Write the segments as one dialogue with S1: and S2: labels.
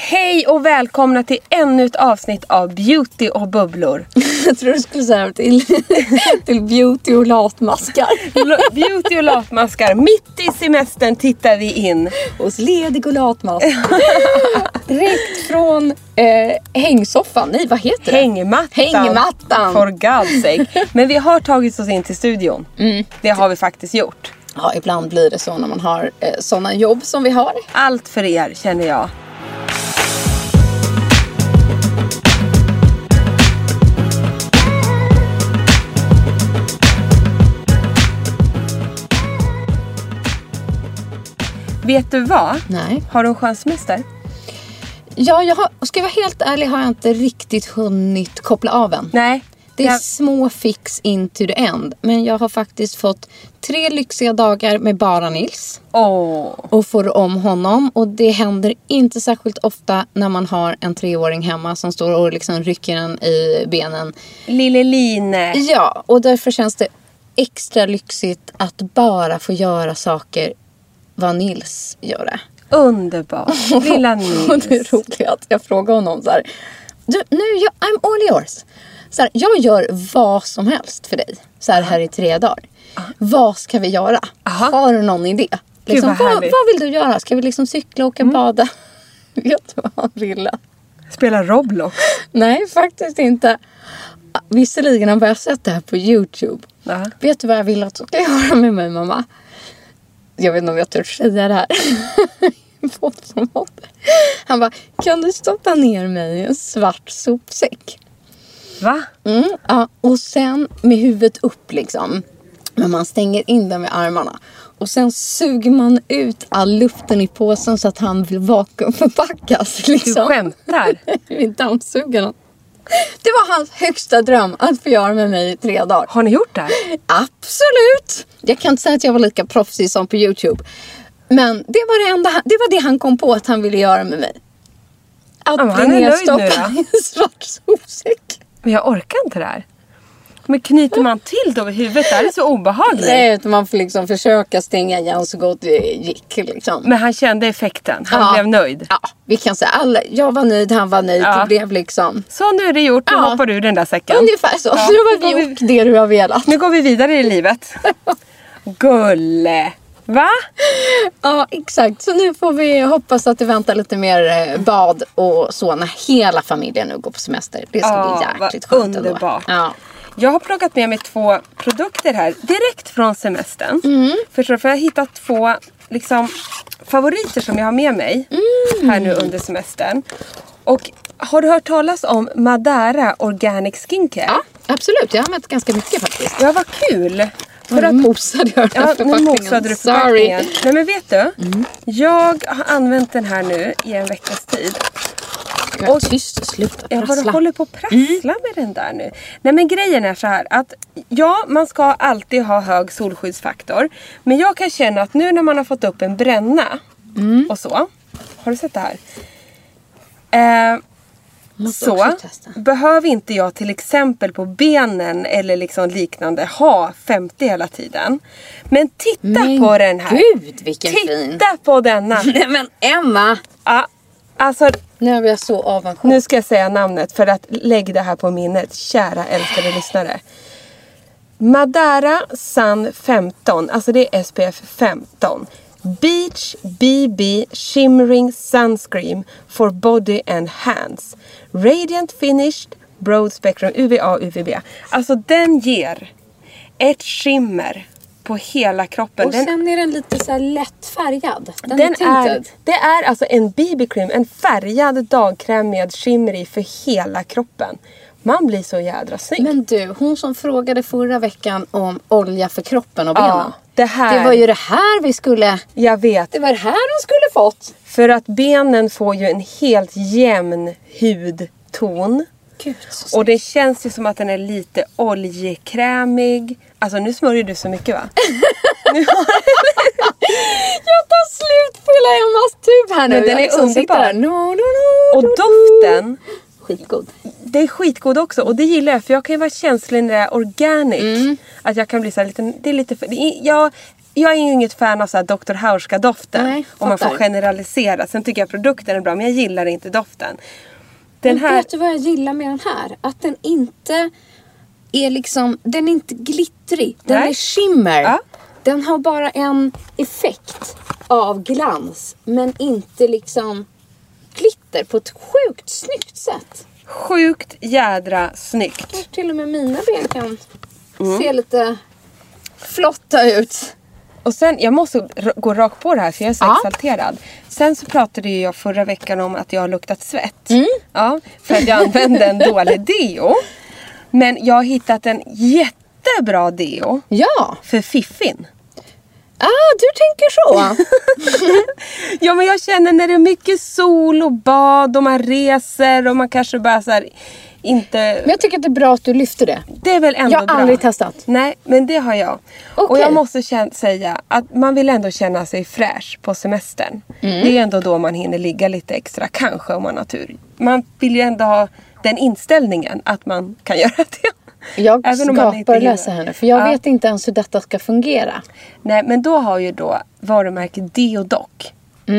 S1: Hej och välkomna till ännu ett avsnitt av Beauty och bubblor.
S2: Jag tror du skulle säga till, till beauty och latmaskar.
S1: Lo- Beauty och latmaskar. Mitt i semestern tittar vi in.
S2: Hos ledig och latmask. Direkt från eh, hängsoffan. Nej, vad heter det?
S1: Hängmattan.
S2: Hängmattan.
S1: For God's sake. Men vi har tagit oss in till studion. Det har vi faktiskt gjort.
S2: Ja, ibland blir det så när man har eh, sådana jobb som vi har.
S1: Allt för er känner jag. Vet du vad?
S2: Nej.
S1: Har du en skönssemester?
S2: Ja, jag har, ska jag vara helt ärlig har jag inte riktigt hunnit koppla av än.
S1: Nej.
S2: Det är
S1: Jag-
S2: små fix in to the end. Men jag har faktiskt fått tre lyxiga dagar med bara Nils.
S1: Åh.
S2: och får om honom. Och det händer inte särskilt ofta när man har en treåring hemma som står och liksom rycker en i benen.
S1: Lille Line.
S2: Ja, och därför känns det extra lyxigt att bara få göra saker vad Nils gör det.
S1: Underbar. Lilla
S2: Och det
S1: Nils.
S2: är roligt att jag frågar honom så här. Du, nu, är jag, I'm all yours. Så här, jag gör vad som helst för dig så här, här i tre dagar. Vad ska vi göra?
S1: Aha.
S2: Har du någon idé? Liksom,
S1: vad
S2: vad, vad
S1: härligt. Mm.
S2: vill du göra? Ska vi liksom cykla, åka, bada? Vet du vad han ville?
S1: Spelar Roblox.
S2: Nej, faktiskt inte. Ah, Visserligen har jag sett det här på Youtube.
S1: Ja.
S2: Vet du vad jag vill att du ska göra med mig mamma? Jag vet inte om jag törs säga det här. Fotbollsmått. Han bara, kan du stoppa ner mig i en svart sopsäck?
S1: Va?
S2: Mm, ja, och sen med huvudet upp liksom. Men man stänger in den med armarna. Och sen suger man ut all luften i påsen så att han vill vakuumförpackas.
S1: Du
S2: Liksom.
S1: skämtar?
S2: Vi dammsuger honom. Det var hans högsta dröm att få göra med mig i tre dagar.
S1: Har ni gjort det?
S2: Absolut! Jag kan inte säga att jag var lika proffsig som på Youtube. Men det var det, enda han, det var det han kom på att han ville göra med mig. Att
S1: Ja, men
S2: bli
S1: han är nöjd nu,
S2: nedstoppad i en svart sopsäck.
S1: Men jag orkar inte det här. Men knyter man till då vid huvudet? Det här är så obehagligt.
S2: Nej, utan man får liksom försöka stänga igen så gott det gick. Liksom.
S1: Men han kände effekten. Han
S2: Ja.
S1: blev nöjd.
S2: Ja, vi kan säga alla, jag var nöjd, han var nöjd.
S1: Ja.
S2: Det blev liksom
S1: Så nu är det gjort. Nu
S2: Ja.
S1: hoppar du ur den där säcken.
S2: ungefär så. Nu har
S1: Nu går
S2: vi gjort det du har velat.
S1: Nu går vi vidare i livet. Gulle. Va?
S2: Ja, exakt. Så nu får vi hoppas att det väntar lite mer eh, bad och så när hela familjen nu går på semester. Det ska
S1: Ja,
S2: bli jäkligt
S1: vad
S2: skönt ändå.
S1: underbart.
S2: Ja.
S1: Jag har plockat med mig två produkter här direkt från semestern.
S2: Mm.
S1: Förstår du? För jag har hittat två liksom, favoriter som jag har med mig här
S2: Mm.
S1: nu under semestern. Och har du hört talas om Madara Organic Skincare?
S2: ja, absolut. Jag har använt ganska mycket faktiskt.
S1: Ja, vad kul! För
S2: För
S1: att,
S2: mosade jag den
S1: ja,
S2: här
S1: nu
S2: förpackningen.
S1: mosade du förpackningen.
S2: Mm. Sorry. Mm.
S1: Nej men vet du? Jag har använt den här nu i en veckas tid.
S2: Och tyst, sluta
S1: Jag bara
S2: prassla. Mm.
S1: håller på att prassla med den där nu. Nej men grejen är så här att ja, man ska alltid ha hög solskyddsfaktor. Men jag kan känna att nu när man har fått upp en bränna
S2: Mm.
S1: och så. Har du sett det här? Eh,
S2: Måste
S1: så
S2: också testa.
S1: behöver inte jag till exempel på benen eller liksom liknande ha 50 hela tiden. Men titta
S2: Men
S1: på den här!
S2: gud, vilken
S1: titta
S2: fin.
S1: på denna!
S2: Nej men Emma!
S1: Ja, alltså
S2: Nu blir jag så avundsjuk.
S1: nu ska jag säga namnet för att lägg det här på minnet, kära älskade lyssnare. Madara Sun 15, alltså det är SPF 15. Beach BB Shimmering Sunscreen for Body and Hands. Radiant Finished Broad Spectrum UVA UVB. Alltså den ger ett skimmer på hela kroppen.
S2: Och
S1: Den
S2: sen är den lite så här lätt färgad. Den,
S1: den
S2: är typ
S1: är,
S2: tinted.
S1: det är alltså en BB-cream, en färgad dagkräm med skimmer i för hela kroppen. Man blir så jädra snygg.
S2: Men du, hon som frågade förra veckan om olja för kroppen och benen.
S1: Ja, Det här.
S2: Det var ju det här vi skulle...
S1: Jag vet.
S2: Det var det här hon skulle fått.
S1: För att benen får ju en helt jämn hudton.
S2: Gud,
S1: Och det känns ju som att den är lite oljekrämig. Alltså nu smörjer du så mycket va?
S2: jag tar slut på hela Emmas tub här nu.
S1: Men den
S2: Jag
S1: är
S2: liksom sitter
S1: underbar.
S2: där. No, no, no,
S1: Och
S2: no, no.
S1: doften,
S2: Skitgod.
S1: det är skitgod också. Och det gillar jag för jag kan ju vara känslig när det är organic.
S2: Mm.
S1: Att jag kan bli så här lite, det är lite för, det är, jag, jag är ju inget fan av så här Dr. Hauska-doften.
S2: Nej,
S1: Om man får
S2: fattar.
S1: generalisera. Sen tycker jag produkten är bra men jag gillar inte doften. Den
S2: Men
S1: här,
S2: vet du vad jag gillar med den här? Att den inte är liksom, den är inte glittrig. Den
S1: Nej.
S2: är shimmer.
S1: Ja.
S2: Den har bara en effekt av glans. Men inte liksom glitter på ett sjukt snyggt sätt.
S1: sjukt jädra snyggt.
S2: Här till och med mina ben kan
S1: Mm.
S2: se lite flotta ut.
S1: Och sen, jag måste r- gå rakt på det här för jag är så
S2: Ja.
S1: exalterad. Sen så pratade ju jag förra veckan om att jag har luktat svett.
S2: Mm.
S1: Ja, för att jag använde en dålig deo. Men jag har hittat en jättebra deo
S2: Ja,
S1: för fiffin.
S2: ah, du tänker så.
S1: Ja men jag känner när det är mycket sol och bad och man reser och man kanske bara så här, inte...
S2: Men jag tycker att det är bra att du lyfter det.
S1: Det är väl ändå
S2: Jag har
S1: bra.
S2: aldrig testat.
S1: Nej, men det har jag. Och
S2: Okej.
S1: jag måste kän- säga att man vill ändå känna sig fräsch på semestern.
S2: Mm.
S1: Det är ändå då man hinner ligga lite extra, kanske om man har tur. Man vill ju ändå ha den inställningen att man kan göra det.
S2: Jag
S1: Även om man inte
S2: skapar och
S1: hinner.
S2: läser här nu, för jag
S1: Ja.
S2: vet inte ens hur detta ska fungera.
S1: Nej, men då har ju då varumärket Deodoc
S2: Mm.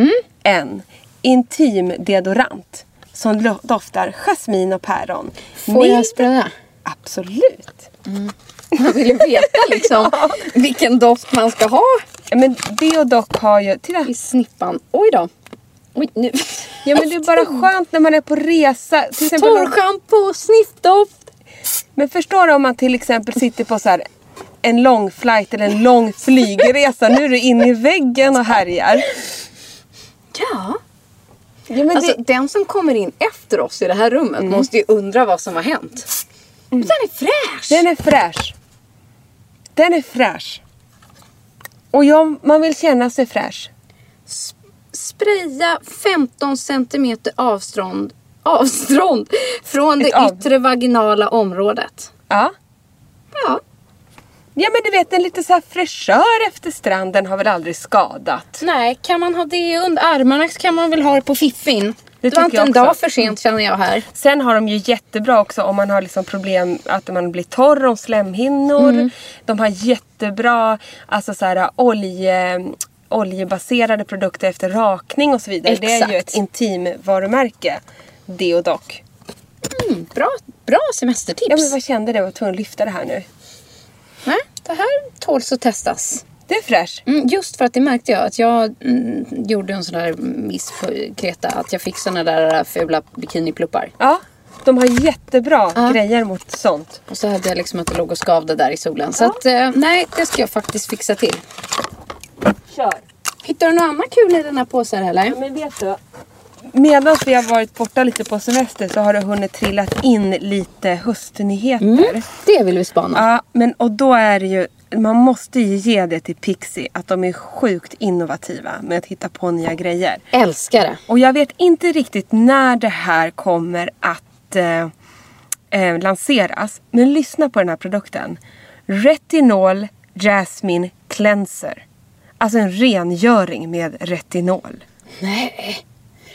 S1: en intim deodorant som lo- doftar jasmin och päron.
S2: Får
S1: Mild-
S2: jag spraya?
S1: Absolut.
S2: Man vill ju veta liksom vilken doft man ska ha
S1: Men Deodoc har ju... Titta!
S2: i snippan. Oj då. Oj, nu.
S1: Ja men det är bara skönt när man är på resa. Till exempel,
S2: Torrschampo, sniffdoft.
S1: men förstår du om man till exempel sitter på så här en lång flight eller en lång flygresa. Nu är du inne i väggen och härjar.
S2: Ja.
S1: Ja, men
S2: Alltså,
S1: det,
S2: Den som kommer in efter oss i det här rummet måste ju undra vad som har hänt. Men Mm. Den är fräsch!
S1: den är fräsch. Den är fräsch. Och ja, man vill känna sig fräsch.
S2: Spraya 15 cm avstånd, avstånd från det
S1: Ett av.
S2: yttre vaginala området.
S1: Ja.
S2: Ja.
S1: Ja men du vet en lite så här fräschör efter stranden har väl aldrig skadat.
S2: Nej, kan man ha det under armarna så kan man väl ha det på fiffin. Det,
S1: tycker
S2: var inte
S1: jag
S2: en
S1: också.
S2: dag för sent känner jag här.
S1: Sen har de ju jättebra också om man har liksom problem att man blir torr om slemhinnor. De har jättebra alltså så här, olje, oljebaserade produkter efter rakning och så vidare. Det är ju
S2: Exakt.
S1: ett intimvarumärke. Deodoc.
S2: Bra, bra semestertips.
S1: Ja men vad kände det? Jag var tvungen att lyfta det här nu.
S2: Nej, det här tåls att testas.
S1: Det är fräsch.
S2: Mm, just för att det märkte jag att jag mm, gjorde en sån där miss på Kreta. Att jag fick såna där äh, fula bikinipluppar.
S1: Ja. De har jättebra
S2: Ja.
S1: grejer mot sånt.
S2: Och så hade jag liksom att det låg och skavde där i solen. Så att, eh, nej, det ska jag faktiskt fixa till.
S1: Kör.
S2: Hittar du något annat kul i den här påsen eller?
S1: Men vet du? Medan vi har varit borta lite på semester så har det hunnit trillat in lite höstnyheter.
S2: Det vill vi spana.
S1: Ja, men och då är det ju... Man måste ju ge det till Pixie att de är sjukt innovativa med att hitta på nya grejer.
S2: Älskar det.
S1: Och jag vet inte riktigt när det här kommer att eh, eh, lanseras. Men lyssna på den här produkten. Retinol Jasmine Cleanser. Alltså en rengöring med retinol.
S2: Nej.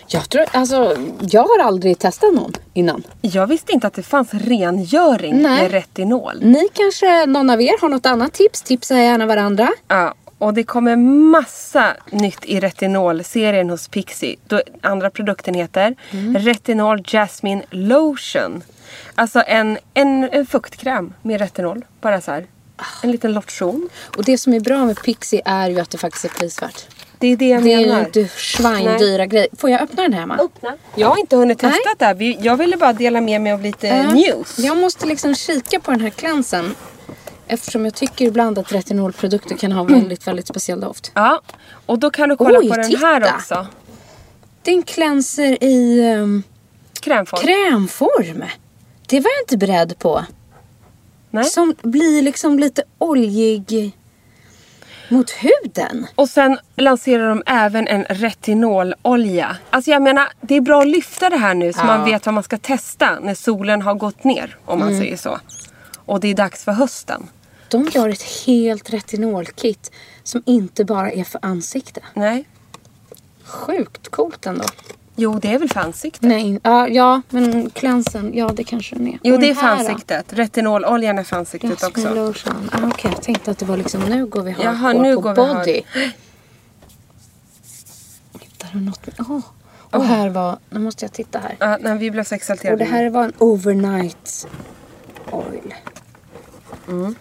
S2: Jag tror, alltså, jag har aldrig testat någon innan.
S1: Jag visste inte att det fanns rengöring
S2: Nej.
S1: med retinol.
S2: Ni kanske, någon av er, har något annat tips? Tipsa gärna varandra.
S1: Ja, och det kommer massa nytt i retinolserien hos Pixie. Då andra produkten heter
S2: Mm.
S1: Retinol Jasmine Lotion. Alltså en, en, en fuktkräm med retinol. Bara så här. En liten lotion.
S2: Och det som är bra med Pixie är ju att det faktiskt är prisvärt.
S1: Det är det jag
S2: Det är
S1: menar.
S2: ju inte schweindyra grejer. Får jag öppna den här Emma?
S1: Öppna. Jag har inte hunnit testa
S2: Nej. Äh.
S1: det här. Vi- Jag ville bara dela med mig av lite
S2: Ja.
S1: news.
S2: Jag måste liksom kika på den här glansen. Eftersom jag tycker ibland att retinolprodukter kan ha väldigt, väldigt speciell doft.
S1: Ja, och då kan du kolla
S2: Oj,
S1: på den
S2: titta.
S1: här också.
S2: Det är en cleanser i ehm,
S1: Krämform.
S2: krämform. Det var jag inte beredd på.
S1: Nej.
S2: Som blir liksom lite oljig. mot huden.
S1: Och sen lanserar de även en retinololja. Alltså jag menar, det är bra att lyfta det här nu så man vet vad man ska testa när solen har gått ner. Om
S2: Mm.
S1: man säger så. Och det är dags för hösten.
S2: De gör ett helt retinolkit som inte bara är för ansikte.
S1: Nej.
S2: Sjukt coolt ändå.
S1: Jo, det är väl för ansiktet?
S2: Nej, ja, ja men klänsen, ja det kanske den är.
S1: Jo,
S2: Och
S1: det är
S2: den
S1: för
S2: här då?
S1: ansiktet. Retinololjan är för ansiktet
S2: Jasmine
S1: också.
S2: lotion. Ah, Okej, jag tänkte att det var liksom nu går vi hardcore
S1: Jaha, nu
S2: på
S1: går vi
S2: body.
S1: hard-
S2: Hittar du något? Åh, Och här var, nu måste jag titta här.
S1: Ja, nej, vi blev så
S2: Och det
S1: exalterade.
S2: här var en overnight oil. Mm.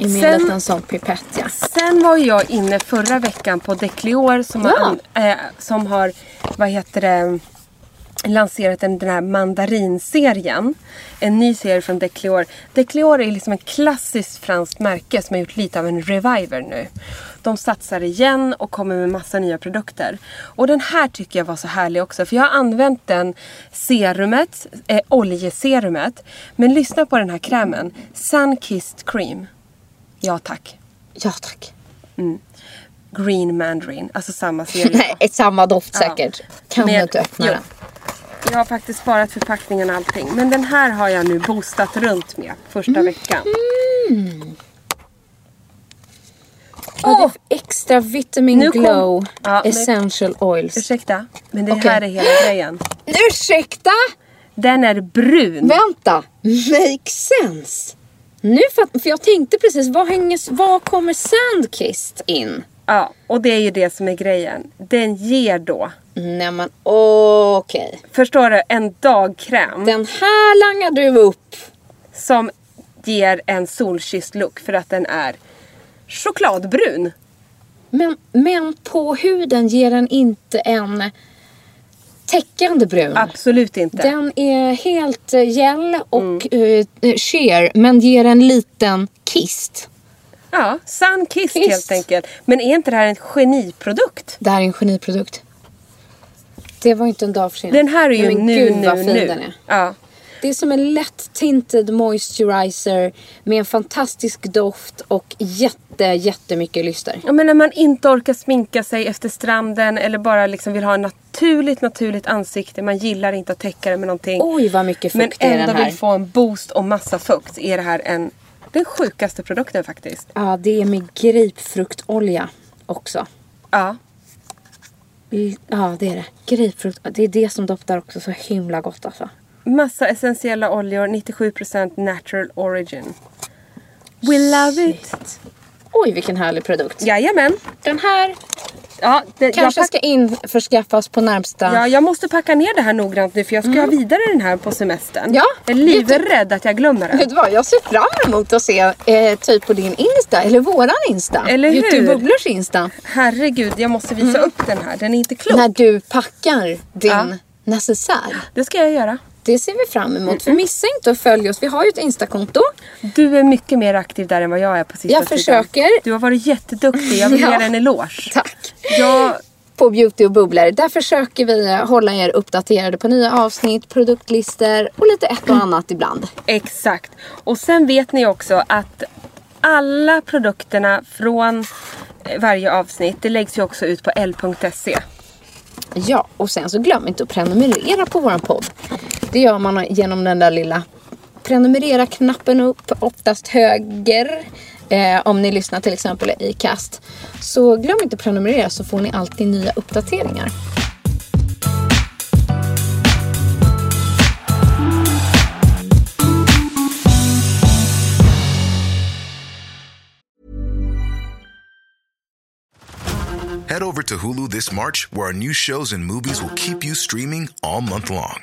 S2: I
S1: Sen-
S2: min liten sån pipett ja.
S1: Sen var ju jag inne förra veckan på Declior som, har,
S2: Ja.
S1: an- eh, som har, vad heter det, lanserat den, den här mandarinserien. En ny serie från Declior. Declior är liksom en klassiskt franskt märke som har gjort lite av en reviver nu. De satsar igen och kommer med massa nya produkter. Och den här tycker jag var så härlig också för jag har använt den serumet, eh, oljeserumet. Men lyssna på den här krämen. Sunkissed cream. Ja tack.
S2: Ja tack.
S1: Green Mandarin, alltså samma serie.
S2: Nej, ett samma doft
S1: Ja.
S2: säkert. Kan
S1: Men
S2: du
S1: jag-
S2: inte öppna
S1: jo.
S2: den?
S1: Jag har faktiskt sparat förpackningen och allting. Men den här har jag nu boostat runt med första
S2: Mm.
S1: veckan.
S2: Åh, extra vitamin
S1: Nu kom-
S2: glow
S1: Ja, nu-
S2: essential oils.
S1: Ursäkta, men det
S2: Okej.
S1: här är hela grejen.
S2: Ursäkta!
S1: Den är brun.
S2: Vänta! Make sense! Nu fatt, för jag tänkte precis, vad, hänger, vad kommer Sandkist in?
S1: Ja, och det är ju det som är grejen. Den ger då,
S2: Nej men okej.
S1: förstår du, en dagkräm
S2: Den här langar du upp.
S1: som ger en solkysst look för att den är chokladbrun.
S2: Men, men på huden ger den inte en täckande brun.
S1: Absolut inte.
S2: Den är helt eh, gel och mm. sheer men ger en liten kist.
S1: Ja, sun kissed
S2: Kissed.
S1: helt enkelt. Men är inte det här en geniprodukt?
S2: Det här är en geniprodukt. Det var inte en dag för sent.
S1: Den här är ju
S2: Nej, men
S1: nu,
S2: gud,
S1: nu,
S2: vad fin
S1: nu.
S2: Den är.
S1: Ja.
S2: Det är som en lätt tinted moisturizer med en fantastisk doft och jätte, jättemycket lyster.
S1: ja, men när man inte orkar sminka sig efter stranden eller bara liksom vill ha ett naturligt, naturligt ansikte. Man gillar inte att täcka det med någonting.
S2: Oj, vad mycket
S1: men
S2: fukt det är i
S1: ändå
S2: den här.
S1: vill få en boost och massa fukt. Är det här en, den sjukaste produkten faktiskt.
S2: Ja, det är med grapefruktolja också.
S1: Ja.
S2: I- Ja, det är det. Grapefrukt. Det är det som doftar också så himla gott alltså.
S1: Massa essentiella oljor, 97% natural origin. We love it!
S2: Oj, vilken härlig produkt.
S1: Jajamän!
S2: Den här
S1: Ja, det,
S2: kanske
S1: jag pack-
S2: ska införskaffas på närmsta...
S1: Ja, jag måste packa ner det här noggrant nu för jag ska ha vidare den här på semestern.
S2: Mm. Ja,
S1: Jag är livrädd att jag glömmer den.
S2: Vet du vad, jag ser fram emot att se eh, typ på din Insta, eller våran Insta.
S1: Eller hur?
S2: Youtube Bubblers Insta.
S1: Herregud, jag måste visa
S2: Mm.
S1: upp den här. Den är inte klok.
S2: När du packar din
S1: Ja.
S2: necessär.
S1: Det ska jag göra.
S2: Det ser vi fram emot. För missa inte att följa oss. Vi har ju ett Insta-konto.
S1: Du är mycket mer aktiv där än vad jag är på sista
S2: Jag
S1: tiden.
S2: försöker.
S1: Du har varit jätteduktig. Jag vill
S2: Ja.
S1: ge dig en eloge.
S2: Tack.
S1: Jag,
S2: På Beauty och Bubblor. Där försöker vi eh, hålla er uppdaterade på nya avsnitt, produktlistor och lite ett och annat ibland.
S1: exakt. Och sen vet ni också att alla produkterna från eh, varje avsnitt, det läggs ju också ut på l.se.
S2: Ja, och sen så glöm inte att prenumerera på våran podd. Det gör man genom den där lilla prenumerera-knappen upp, oftast höger. Eh, om ni lyssnar till exempel i Cast. Så glöm inte att prenumerera så får ni alltid nya uppdateringar.
S3: Head over to Hulu this March, where our new shows and movies will keep you streaming all month long.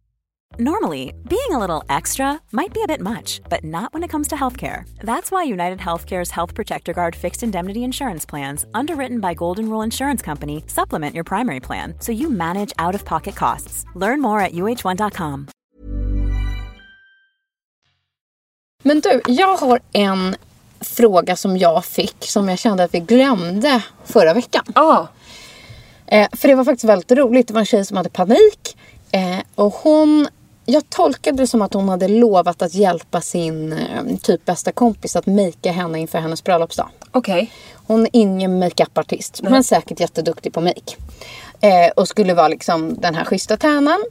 S4: Normally, being a little extra might be a bit much, but not when it comes to healthcare. That's why United Healthcare's Health Protector Guard fixed indemnity insurance plans, underwritten by Golden Rule Insurance Company, supplement your primary plan so you manage out of pocket costs. Learn more at uh1.com.
S2: Men du, jag har en fråga som jag fick som jag kände att vi glömde förra veckan.
S1: Ja.
S2: Eh, för det var faktiskt väldigt roligt. Det var en tjej som hade panik. Eh, och hon, jag tolkade det som att hon hade lovat att hjälpa sin eh, typ bästa kompis att makea henne inför hennes bröllopsdag.
S1: Okej.
S2: Hon är ingen makeupartist, men säkert jätteduktig på make. Eh, och skulle vara liksom den här schyssta tärnan.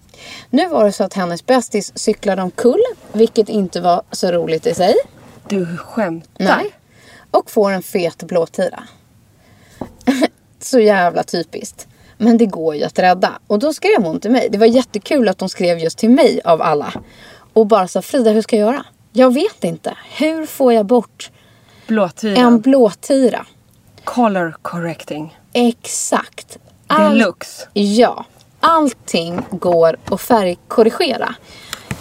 S2: Nu var det så att hennes bästis cyklade omkull, vilket inte var så roligt i sig.
S1: Du skämtar?
S2: Nej. Och får en fet blåtira. så jävla typiskt. Men det går ju att rädda. Och då skrev hon till mig. Det var jättekul att hon skrev just till mig av alla. Och bara sa Frida, hur ska jag göra? Jag vet inte. Hur får jag bort
S1: Blåtyran.
S2: en blåtira?
S1: Color correcting.
S2: Exakt.
S1: Deluxe.
S2: Ja. Allting går att färgkorrigera.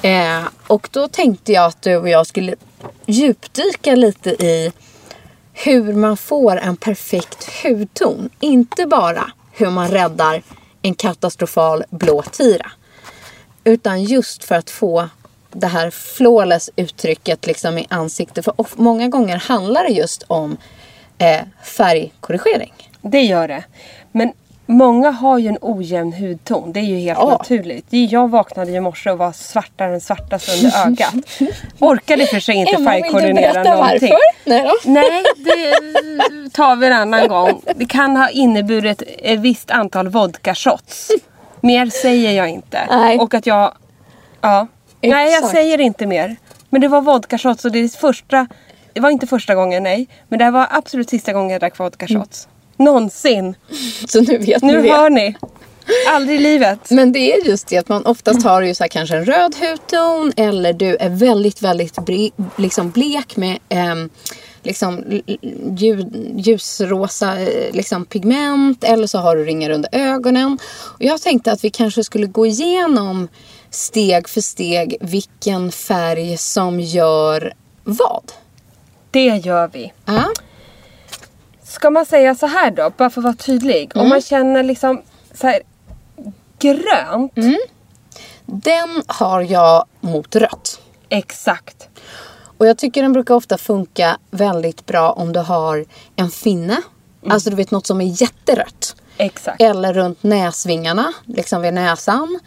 S2: Eh, och då tänkte jag att du och jag skulle djupdyka lite i hur man får en perfekt hudton. Inte bara hur man räddar en katastrofal blå tira. Utan just för att få det här flawless uttrycket liksom i ansiktet. För of- många gånger handlar det just om eh, färgkorrigering.
S1: Det gör det. Men många har ju en ojämn hudton. Det är ju helt
S2: Ja.
S1: naturligt. Det är- Jag vaknade ju i morse och var svartare än svartast under ögat. Orkade i och för sig inte
S2: Emma, vill du
S1: färgkoordinera
S2: berätta
S1: någonting.
S2: varför? Nej då.
S1: Nej, det tar vi en annan gång. Det kan ha inneburit ett visst antal vodka-shots. Mer säger jag inte.
S2: Nej.
S1: Och att jag... Ja. Nej, jag
S2: Exakt.
S1: säger inte mer. Men det var vodka-shots och det är första... Det var inte första gången, nej. Men det här var absolut sista gången jag drack vodka-shots. Någonsin.
S2: Så Mm. nu vet
S1: Nu
S2: ni det.
S1: hör ni. Aldrig i livet.
S2: Men det är just det att man oftast har ju så här kanske en röd hudton eller du är väldigt, väldigt bre- liksom blek med ehm, liksom l- l- ljud, ljusrosa eh, liksom pigment eller så har du ringar under ögonen. Och jag tänkte att vi kanske skulle gå igenom steg för steg vilken färg som gör vad.
S1: Det gör vi.
S2: Ja,
S1: Ska man säga så här då, bara för att vara tydlig.
S2: Mm.
S1: Om man känner liksom så här grönt.
S2: Mm. den har jag mot rött.
S1: Exakt.
S2: Och jag tycker den brukar ofta funka väldigt bra om du har en finne. Alltså du vet något som är jätterött.
S1: Mm. Exakt.
S2: Eller runt näsvingarna, liksom vid näsan.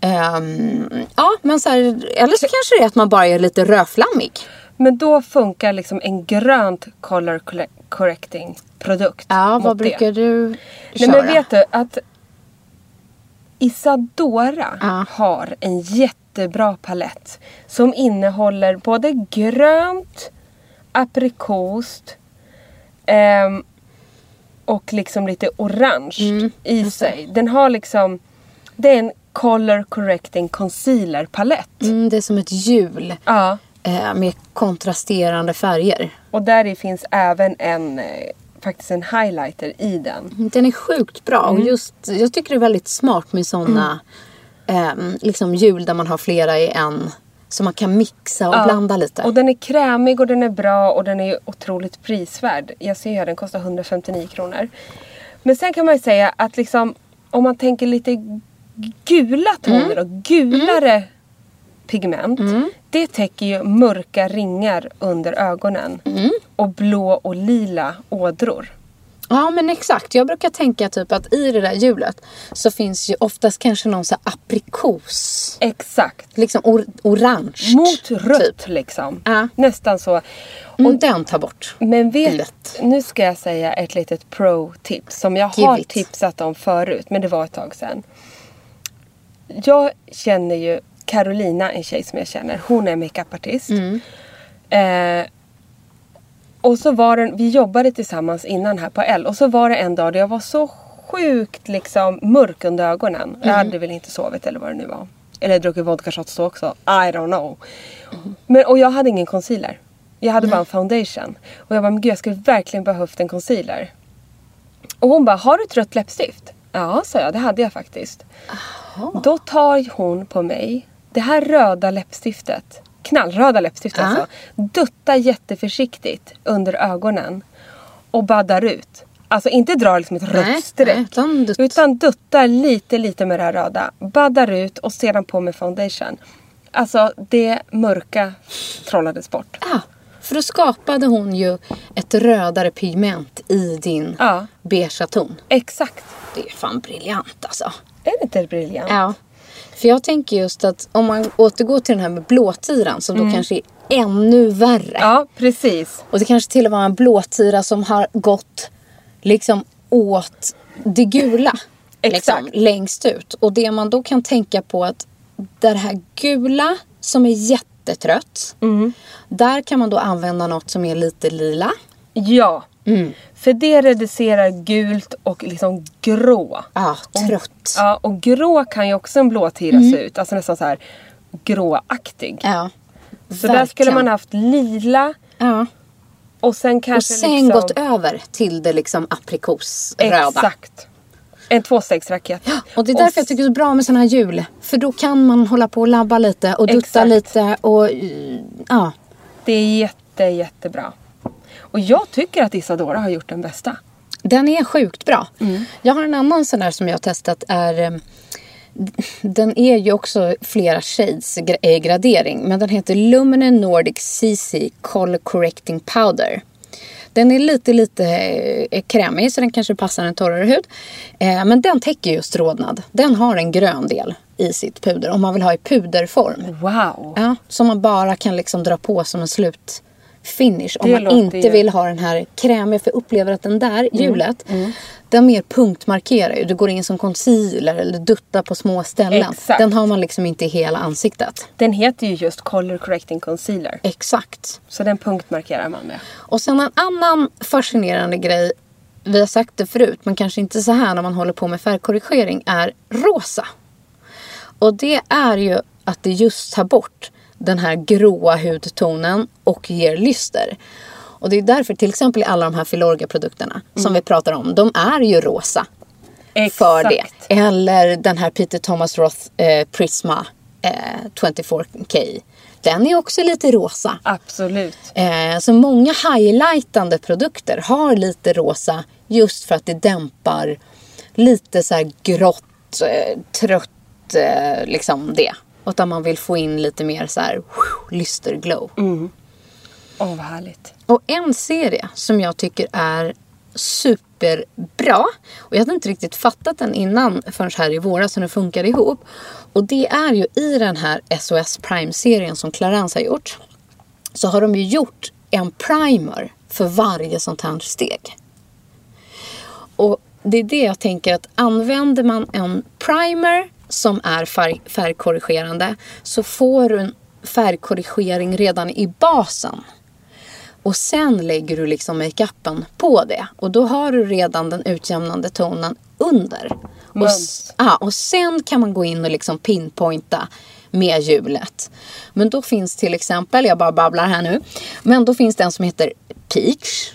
S2: Ehm, ja, men så här, eller så kanske det är att man bara är lite rödflammig.
S1: Men då funkar liksom en grönt color colle- correcting produkt.
S2: Ja,
S1: mot
S2: vad
S1: det.
S2: brukar du
S1: Nej
S2: köra?
S1: men vet du att Isadora
S2: Ja.
S1: har en jättebra palett som innehåller både grönt, aprikost ehm, och liksom lite orange
S2: Mm,
S1: i sig. Den har liksom, det är en color correcting concealer palett.
S2: mm, det är som ett hjul
S1: Ja.
S2: eh, med kontrasterande färger.
S1: Och där i finns även en eh, faktiskt en highlighter i den.
S2: Den är sjukt bra.
S1: Mm.
S2: Och just, jag tycker det är väldigt smart med såna
S1: Mm.
S2: ehm, liksom hjul där man har flera i en. Så man kan mixa och blanda lite.
S1: Och den är krämig och den är bra och den är ju otroligt prisvärd. Jag ser ju här, den kostar 159 kronor. Men sen kan man ju säga att liksom om man tänker lite gula
S2: Mm.
S1: toner och gulare pigment.
S2: Mm.
S1: Det täcker ju mörka ringar under ögonen.
S2: Mm.
S1: Och blå och lila ådror.
S2: Ja men exakt. Jag brukar tänka typ att i det där hjulet så finns ju oftast kanske någon så här aprikos.
S1: Exakt.
S2: Liksom or- orange.
S1: Mot rött Mm.
S2: Typ.
S1: liksom.
S2: Ja.
S1: Nästan så.
S2: Och den tar bort.
S1: Men vet,
S2: Lätt.
S1: nu ska jag säga ett litet pro-tips som jag
S2: Give
S1: har
S2: it.
S1: tipsat om förut, men det var ett tag sedan. Jag känner ju Carolina, en tjej som jag känner, hon är makeupartist.
S2: Mm.
S1: Eh, och så var den, vi jobbade tillsammans innan här på L och så var det en dag där jag var så sjukt liksom mörk under ögonen. Jag hade väl inte sovit eller vad det nu var. Eller druckit vodka shots då också. I don't know. Men, och jag hade ingen concealer. Jag hade bara en foundation. Och jag bara, men gud jag skulle verkligen behövt en concealer. Och hon bara, har du ett rött läppstift? Ja, sa jag, det hade jag faktiskt. Då tar hon på mig Det här röda läppstiftet, knallröda läppstiftet
S2: Ja.
S1: alltså, dutta jätteförsiktigt under ögonen och baddar ut. Alltså inte drar liksom ett
S2: Nej,
S1: rött streck.
S2: nej, utan dutt.
S1: utan duttar lite, lite med det här röda. Baddar ut och sedan på med foundation. Alltså det mörka trollades bort.
S2: Ja, för då skapade hon ju ett rödare pigment i din
S1: Ja.
S2: beigea ton.
S1: Exakt.
S2: Det är fan briljant alltså.
S1: Är det inte briljant?
S2: Ja. För jag tänker just att om man återgår till den här med blåtiran som då kanske är ännu värre.
S1: Mm. Ja, precis.
S2: Och det kanske till och med var en blåtira som har gått liksom åt det gula.
S1: Exakt.
S2: Liksom, längst ut. Och det man då kan tänka på att det här gula som är jättetrött.
S1: Mm.
S2: Där kan man då använda något som är lite lila.
S1: Ja.
S2: Mm.
S1: För det reducerar gult och liksom grå.
S2: Ja, trött.
S1: Ja, och grå kan ju också en blåtira se ut. Alltså nästan så här gråaktig.
S2: Mm. Ja.
S1: så där skulle
S2: verkligen.
S1: man haft lila
S2: Ja.
S1: och sen
S2: Och
S1: kanske
S2: sen
S1: liksom...
S2: gått över till det liksom aprikosröda.
S1: Exakt. En tvåstegsraket.
S2: Och det är därför jag
S1: s-
S2: tycker det är så bra med såna här hjul. För då kan man hålla på och labba lite och dutta
S1: Exakt.
S2: lite och eh, ja.
S1: Det är jätte, jättebra. Och jag tycker att Isadora har gjort den bästa.
S2: Den är sjukt bra.
S1: Mm.
S2: Jag har en annan sån där som jag har testat. Är, eh, den är ju också flera shades gra- eh, gradering. Men den heter Lumine Nordic CC Color Correcting Powder. Den är lite, lite eh, krämig så den kanske passar en torrare hud. Eh, Men den täcker just rodnad. Den har en grön del i sitt puder om man vill ha i puderform.
S1: Wow.
S2: Ja, som man bara kan liksom dra på som en slutfinish. Om
S1: Det
S2: man
S1: låter
S2: inte
S1: ju- Mm,
S2: vill ha den här krämiga. För jag upplever att den där hjulet, den mer punktmarkerar ju. Du går in som concealer eller duttar på små ställen.
S1: Exakt.
S2: Den har man liksom inte i hela ansiktet.
S1: Den heter ju just Color Correcting Concealer.
S2: Exakt.
S1: Så den punktmarkerar man med.
S2: Och sen en annan fascinerande grej. Vi har sagt det förut, men kanske inte så här när man håller på med färgkorrigering, är rosa. Och det är ju att det just tar bort den här gråa hudtonen och ger lyster. Och det är därför till exempel i alla de här Filorga-produkterna som vi pratar om, de är ju rosa för det. Eller den här Peter Thomas Roth eh, Prisma eh, 24K. Den är också lite rosa.
S1: Absolut.
S2: Eh, så många highlightande produkter har lite rosa just för att det dämpar lite så här grått, eh, trött, eh, liksom det. Utan man vill få in lite mer så här whew, lysterglow.
S1: Åh, vad härligt.
S2: Och en serie som jag tycker är superbra och jag hade inte riktigt fattat den innan förrän här i våras när den funkade ihop. Och det är ju i den här SOS Prime-serien som Clarence har gjort så har de ju gjort en primer för varje sånt här steg. Och det är det jag tänker att använder man en primer som är färg, färgkorrigerande så får du en färgkorrigering redan i basen. Och sen lägger du liksom makeupen på det. Och då har du redan den utjämnande tonen under. Och,
S1: Mums.
S2: s- ja, och sen kan man gå in och liksom pinpointa med hjulet. Men då finns till exempel, jag bara babblar här nu. Men då finns den som heter Peach.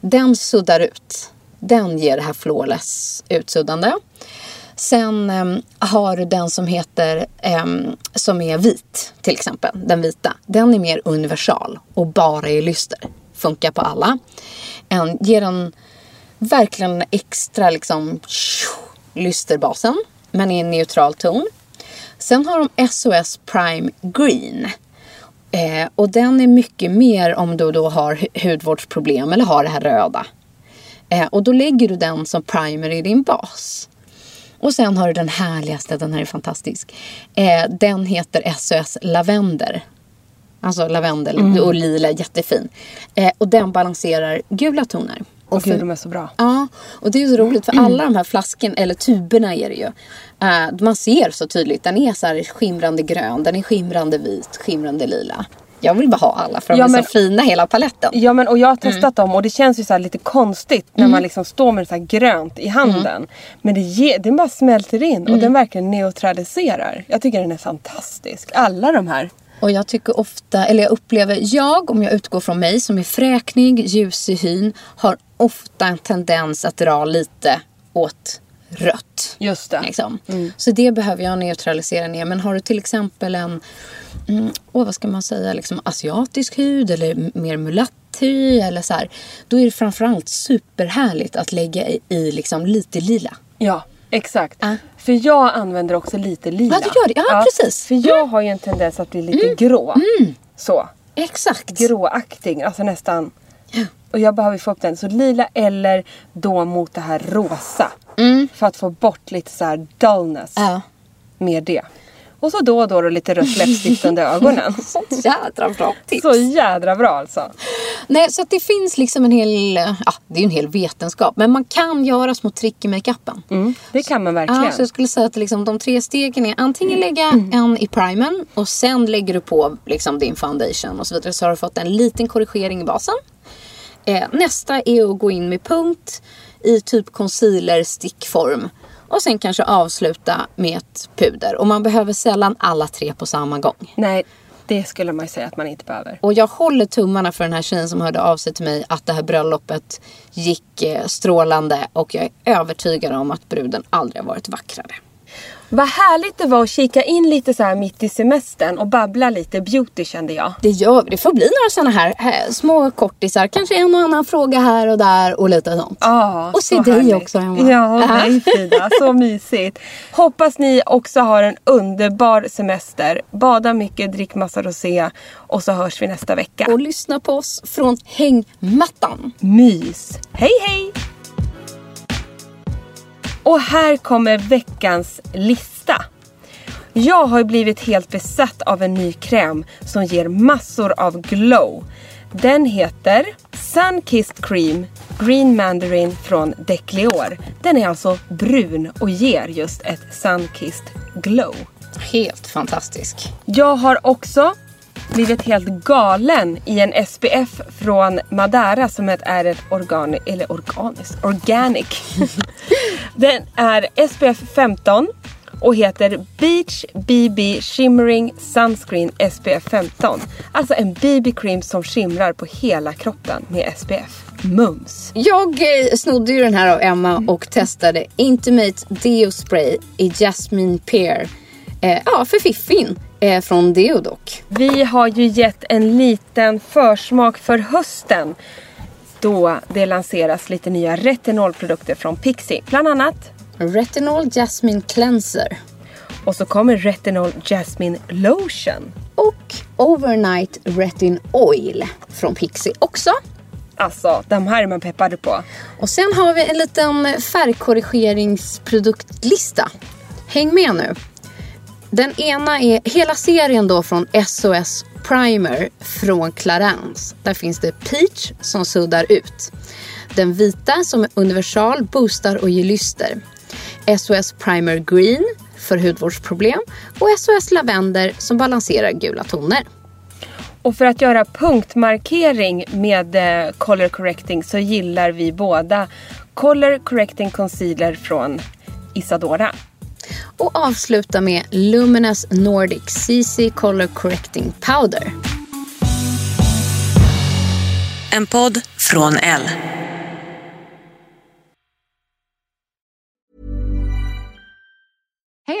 S2: Den suddar ut. Den ger det här flawless utsuddande. Sen em, har du den som heter em, som är vit till exempel. Den vita. Den är mer universal och bara är lyster. Funkar på alla. En, ger en verkligen en extra liksom tjo, lysterbasen. Men i en neutral ton. Sen har de SOS Prime Green. Eh, och den är mycket mer om du då har hu- hudvårdsproblem eller har det här röda. Eh, och då lägger du den som primer i din bas. Och sen har du den härligaste, den här är fantastisk. Eh, den heter SOS Lavender. Alltså lavendel och lila, jättefin. Eh, och den balanserar gula toner.
S1: Åh
S2: Och för-
S1: gud, de är så bra.
S2: Ja, och det är ju så roligt för alla de här flaskorna, eller tuberna är det ju. eh, man ser så tydligt, den är så här skimrande grön, den är skimrande vit, skimrande lila. Jag vill bara ha alla för de
S1: Ja,
S2: är
S1: men-
S2: så fina hela paletten.
S1: Ja men och jag
S2: Mm.
S1: har testat dem och det känns ju så här lite konstigt när man liksom står med det så här grönt
S2: Mm.
S1: i handen. Men det ge, den bara smälter in och den verkligen neutraliserar. Jag tycker den är fantastisk. Alla de här.
S2: Och jag tycker ofta, eller jag upplever, jag om jag utgår från mig som är fräknig, ljus i hyn, har ofta en tendens att dra lite åt rött.
S1: Just det.
S2: Liksom.
S1: Mm.
S2: Så det behöver jag neutralisera ner. Men har du till exempel en, mm, åh, vad ska man säga, liksom asiatisk hud eller m- mer mulatthy eller så här. Då är det framförallt superhärligt att lägga i, i liksom lite lila.
S1: Ja, exakt.
S2: Ah.
S1: För jag använder också lite lila.
S2: Ja, du gör det. Ja, precis. Mm.
S1: För jag har ju en tendens att bli lite grå. Så.
S2: Exakt.
S1: Gråaktig, alltså nästan. Och jag behöver få upp den. Så lila eller då mot det här rosa. För att få bort lite så här dullness
S2: Ja.
S1: med det. Och så då och då, då lite rött läppstift under ögonen.
S2: Sånt jädra bra tips.
S1: Så jädra bra alltså.
S2: Nej, så att det finns liksom en hel, ja, det är ju en hel vetenskap, men man kan göra små trick i makeupen.
S1: Det kan man verkligen.
S2: Ja, så jag skulle säga att liksom de tre stegen är antingen lägga en i primern och sen lägger du på liksom din foundation och så vidare. Så har du fått en liten korrigering i basen. Eh, nästa är att gå in med punkt i typ concealer stickform. Och sen kanske avsluta med ett puder. Och man behöver sällan alla tre på samma gång.
S1: Nej, det skulle man ju säga att man inte behöver.
S2: Och jag håller tummarna för den här tjejen som hörde av sig till mig att det här bröllopet gick eh, strålande och jag är övertygad om att bruden aldrig har varit vackrare.
S1: Vad härligt det var att kika in lite så här mitt i semestern och babbla lite beauty kände jag.
S2: Det gör vi. Det får bli några sådana här, här små kortisar. Kanske en och annan fråga här och där och lite sånt.
S1: Ja,
S2: och se
S1: så
S2: dig
S1: härligt.
S2: också Emma.
S1: Ja,
S2: Äh,
S1: nej Frida. Så mysigt. Hoppas ni också har en underbar semester. Bada mycket, drick massa rosé och så hörs vi nästa vecka.
S2: Och lyssna på oss från hängmattan.
S1: Mys! Hej hej! Och här kommer veckans lista. Jag har ju blivit helt besatt av en ny kräm som ger massor av glow. Den heter Sunkissed Cream Green Mandarin från Declior. Den är alltså brun och ger just ett sunkissed glow.
S2: Helt fantastisk.
S1: Jag har också blivit helt galen i en SPF från Madeira som ett- är ett organi, eller organiskt, organic. Den är SPF 15 och heter Beach BB Shimmering Sunscreen SPF 15. Alltså en BB-cream som skimrar på hela kroppen med SPF. Mums!
S2: Jag eh, snodde ju den här av Emma och testade Intimate Deo Spray i Jasmine Pear. Eh, ja, för fiffin. Eh, från Deodoc.
S1: Vi har ju gett en liten försmak för hösten då det lanseras lite nya retinolprodukter från Pixie. Bland annat
S2: Retinol Jasmine Cleanser.
S1: och så kommer Retinol Jasmine Lotion.
S2: Och Overnight Retin Oil från Pixie också.
S1: Alltså, de här är man peppade på.
S2: Och sen har vi en liten färgkorrigeringsproduktlista. Häng med nu. Den ena är hela serien då från SOS Primer från Clarins. Där finns det Peach som suddar ut. Den vita som är universal, boostar och ger lyster. SOS Primer Green för hudvårdsproblem och SOS Lavender som balanserar gula toner.
S1: Och för att göra punktmarkering med eh, Color Correcting så gillar vi båda Color Correcting Concealer från Isadora.
S2: och avsluta med Luminous Nordic CC Color Correcting Powder.
S5: En podd från L.
S6: Hey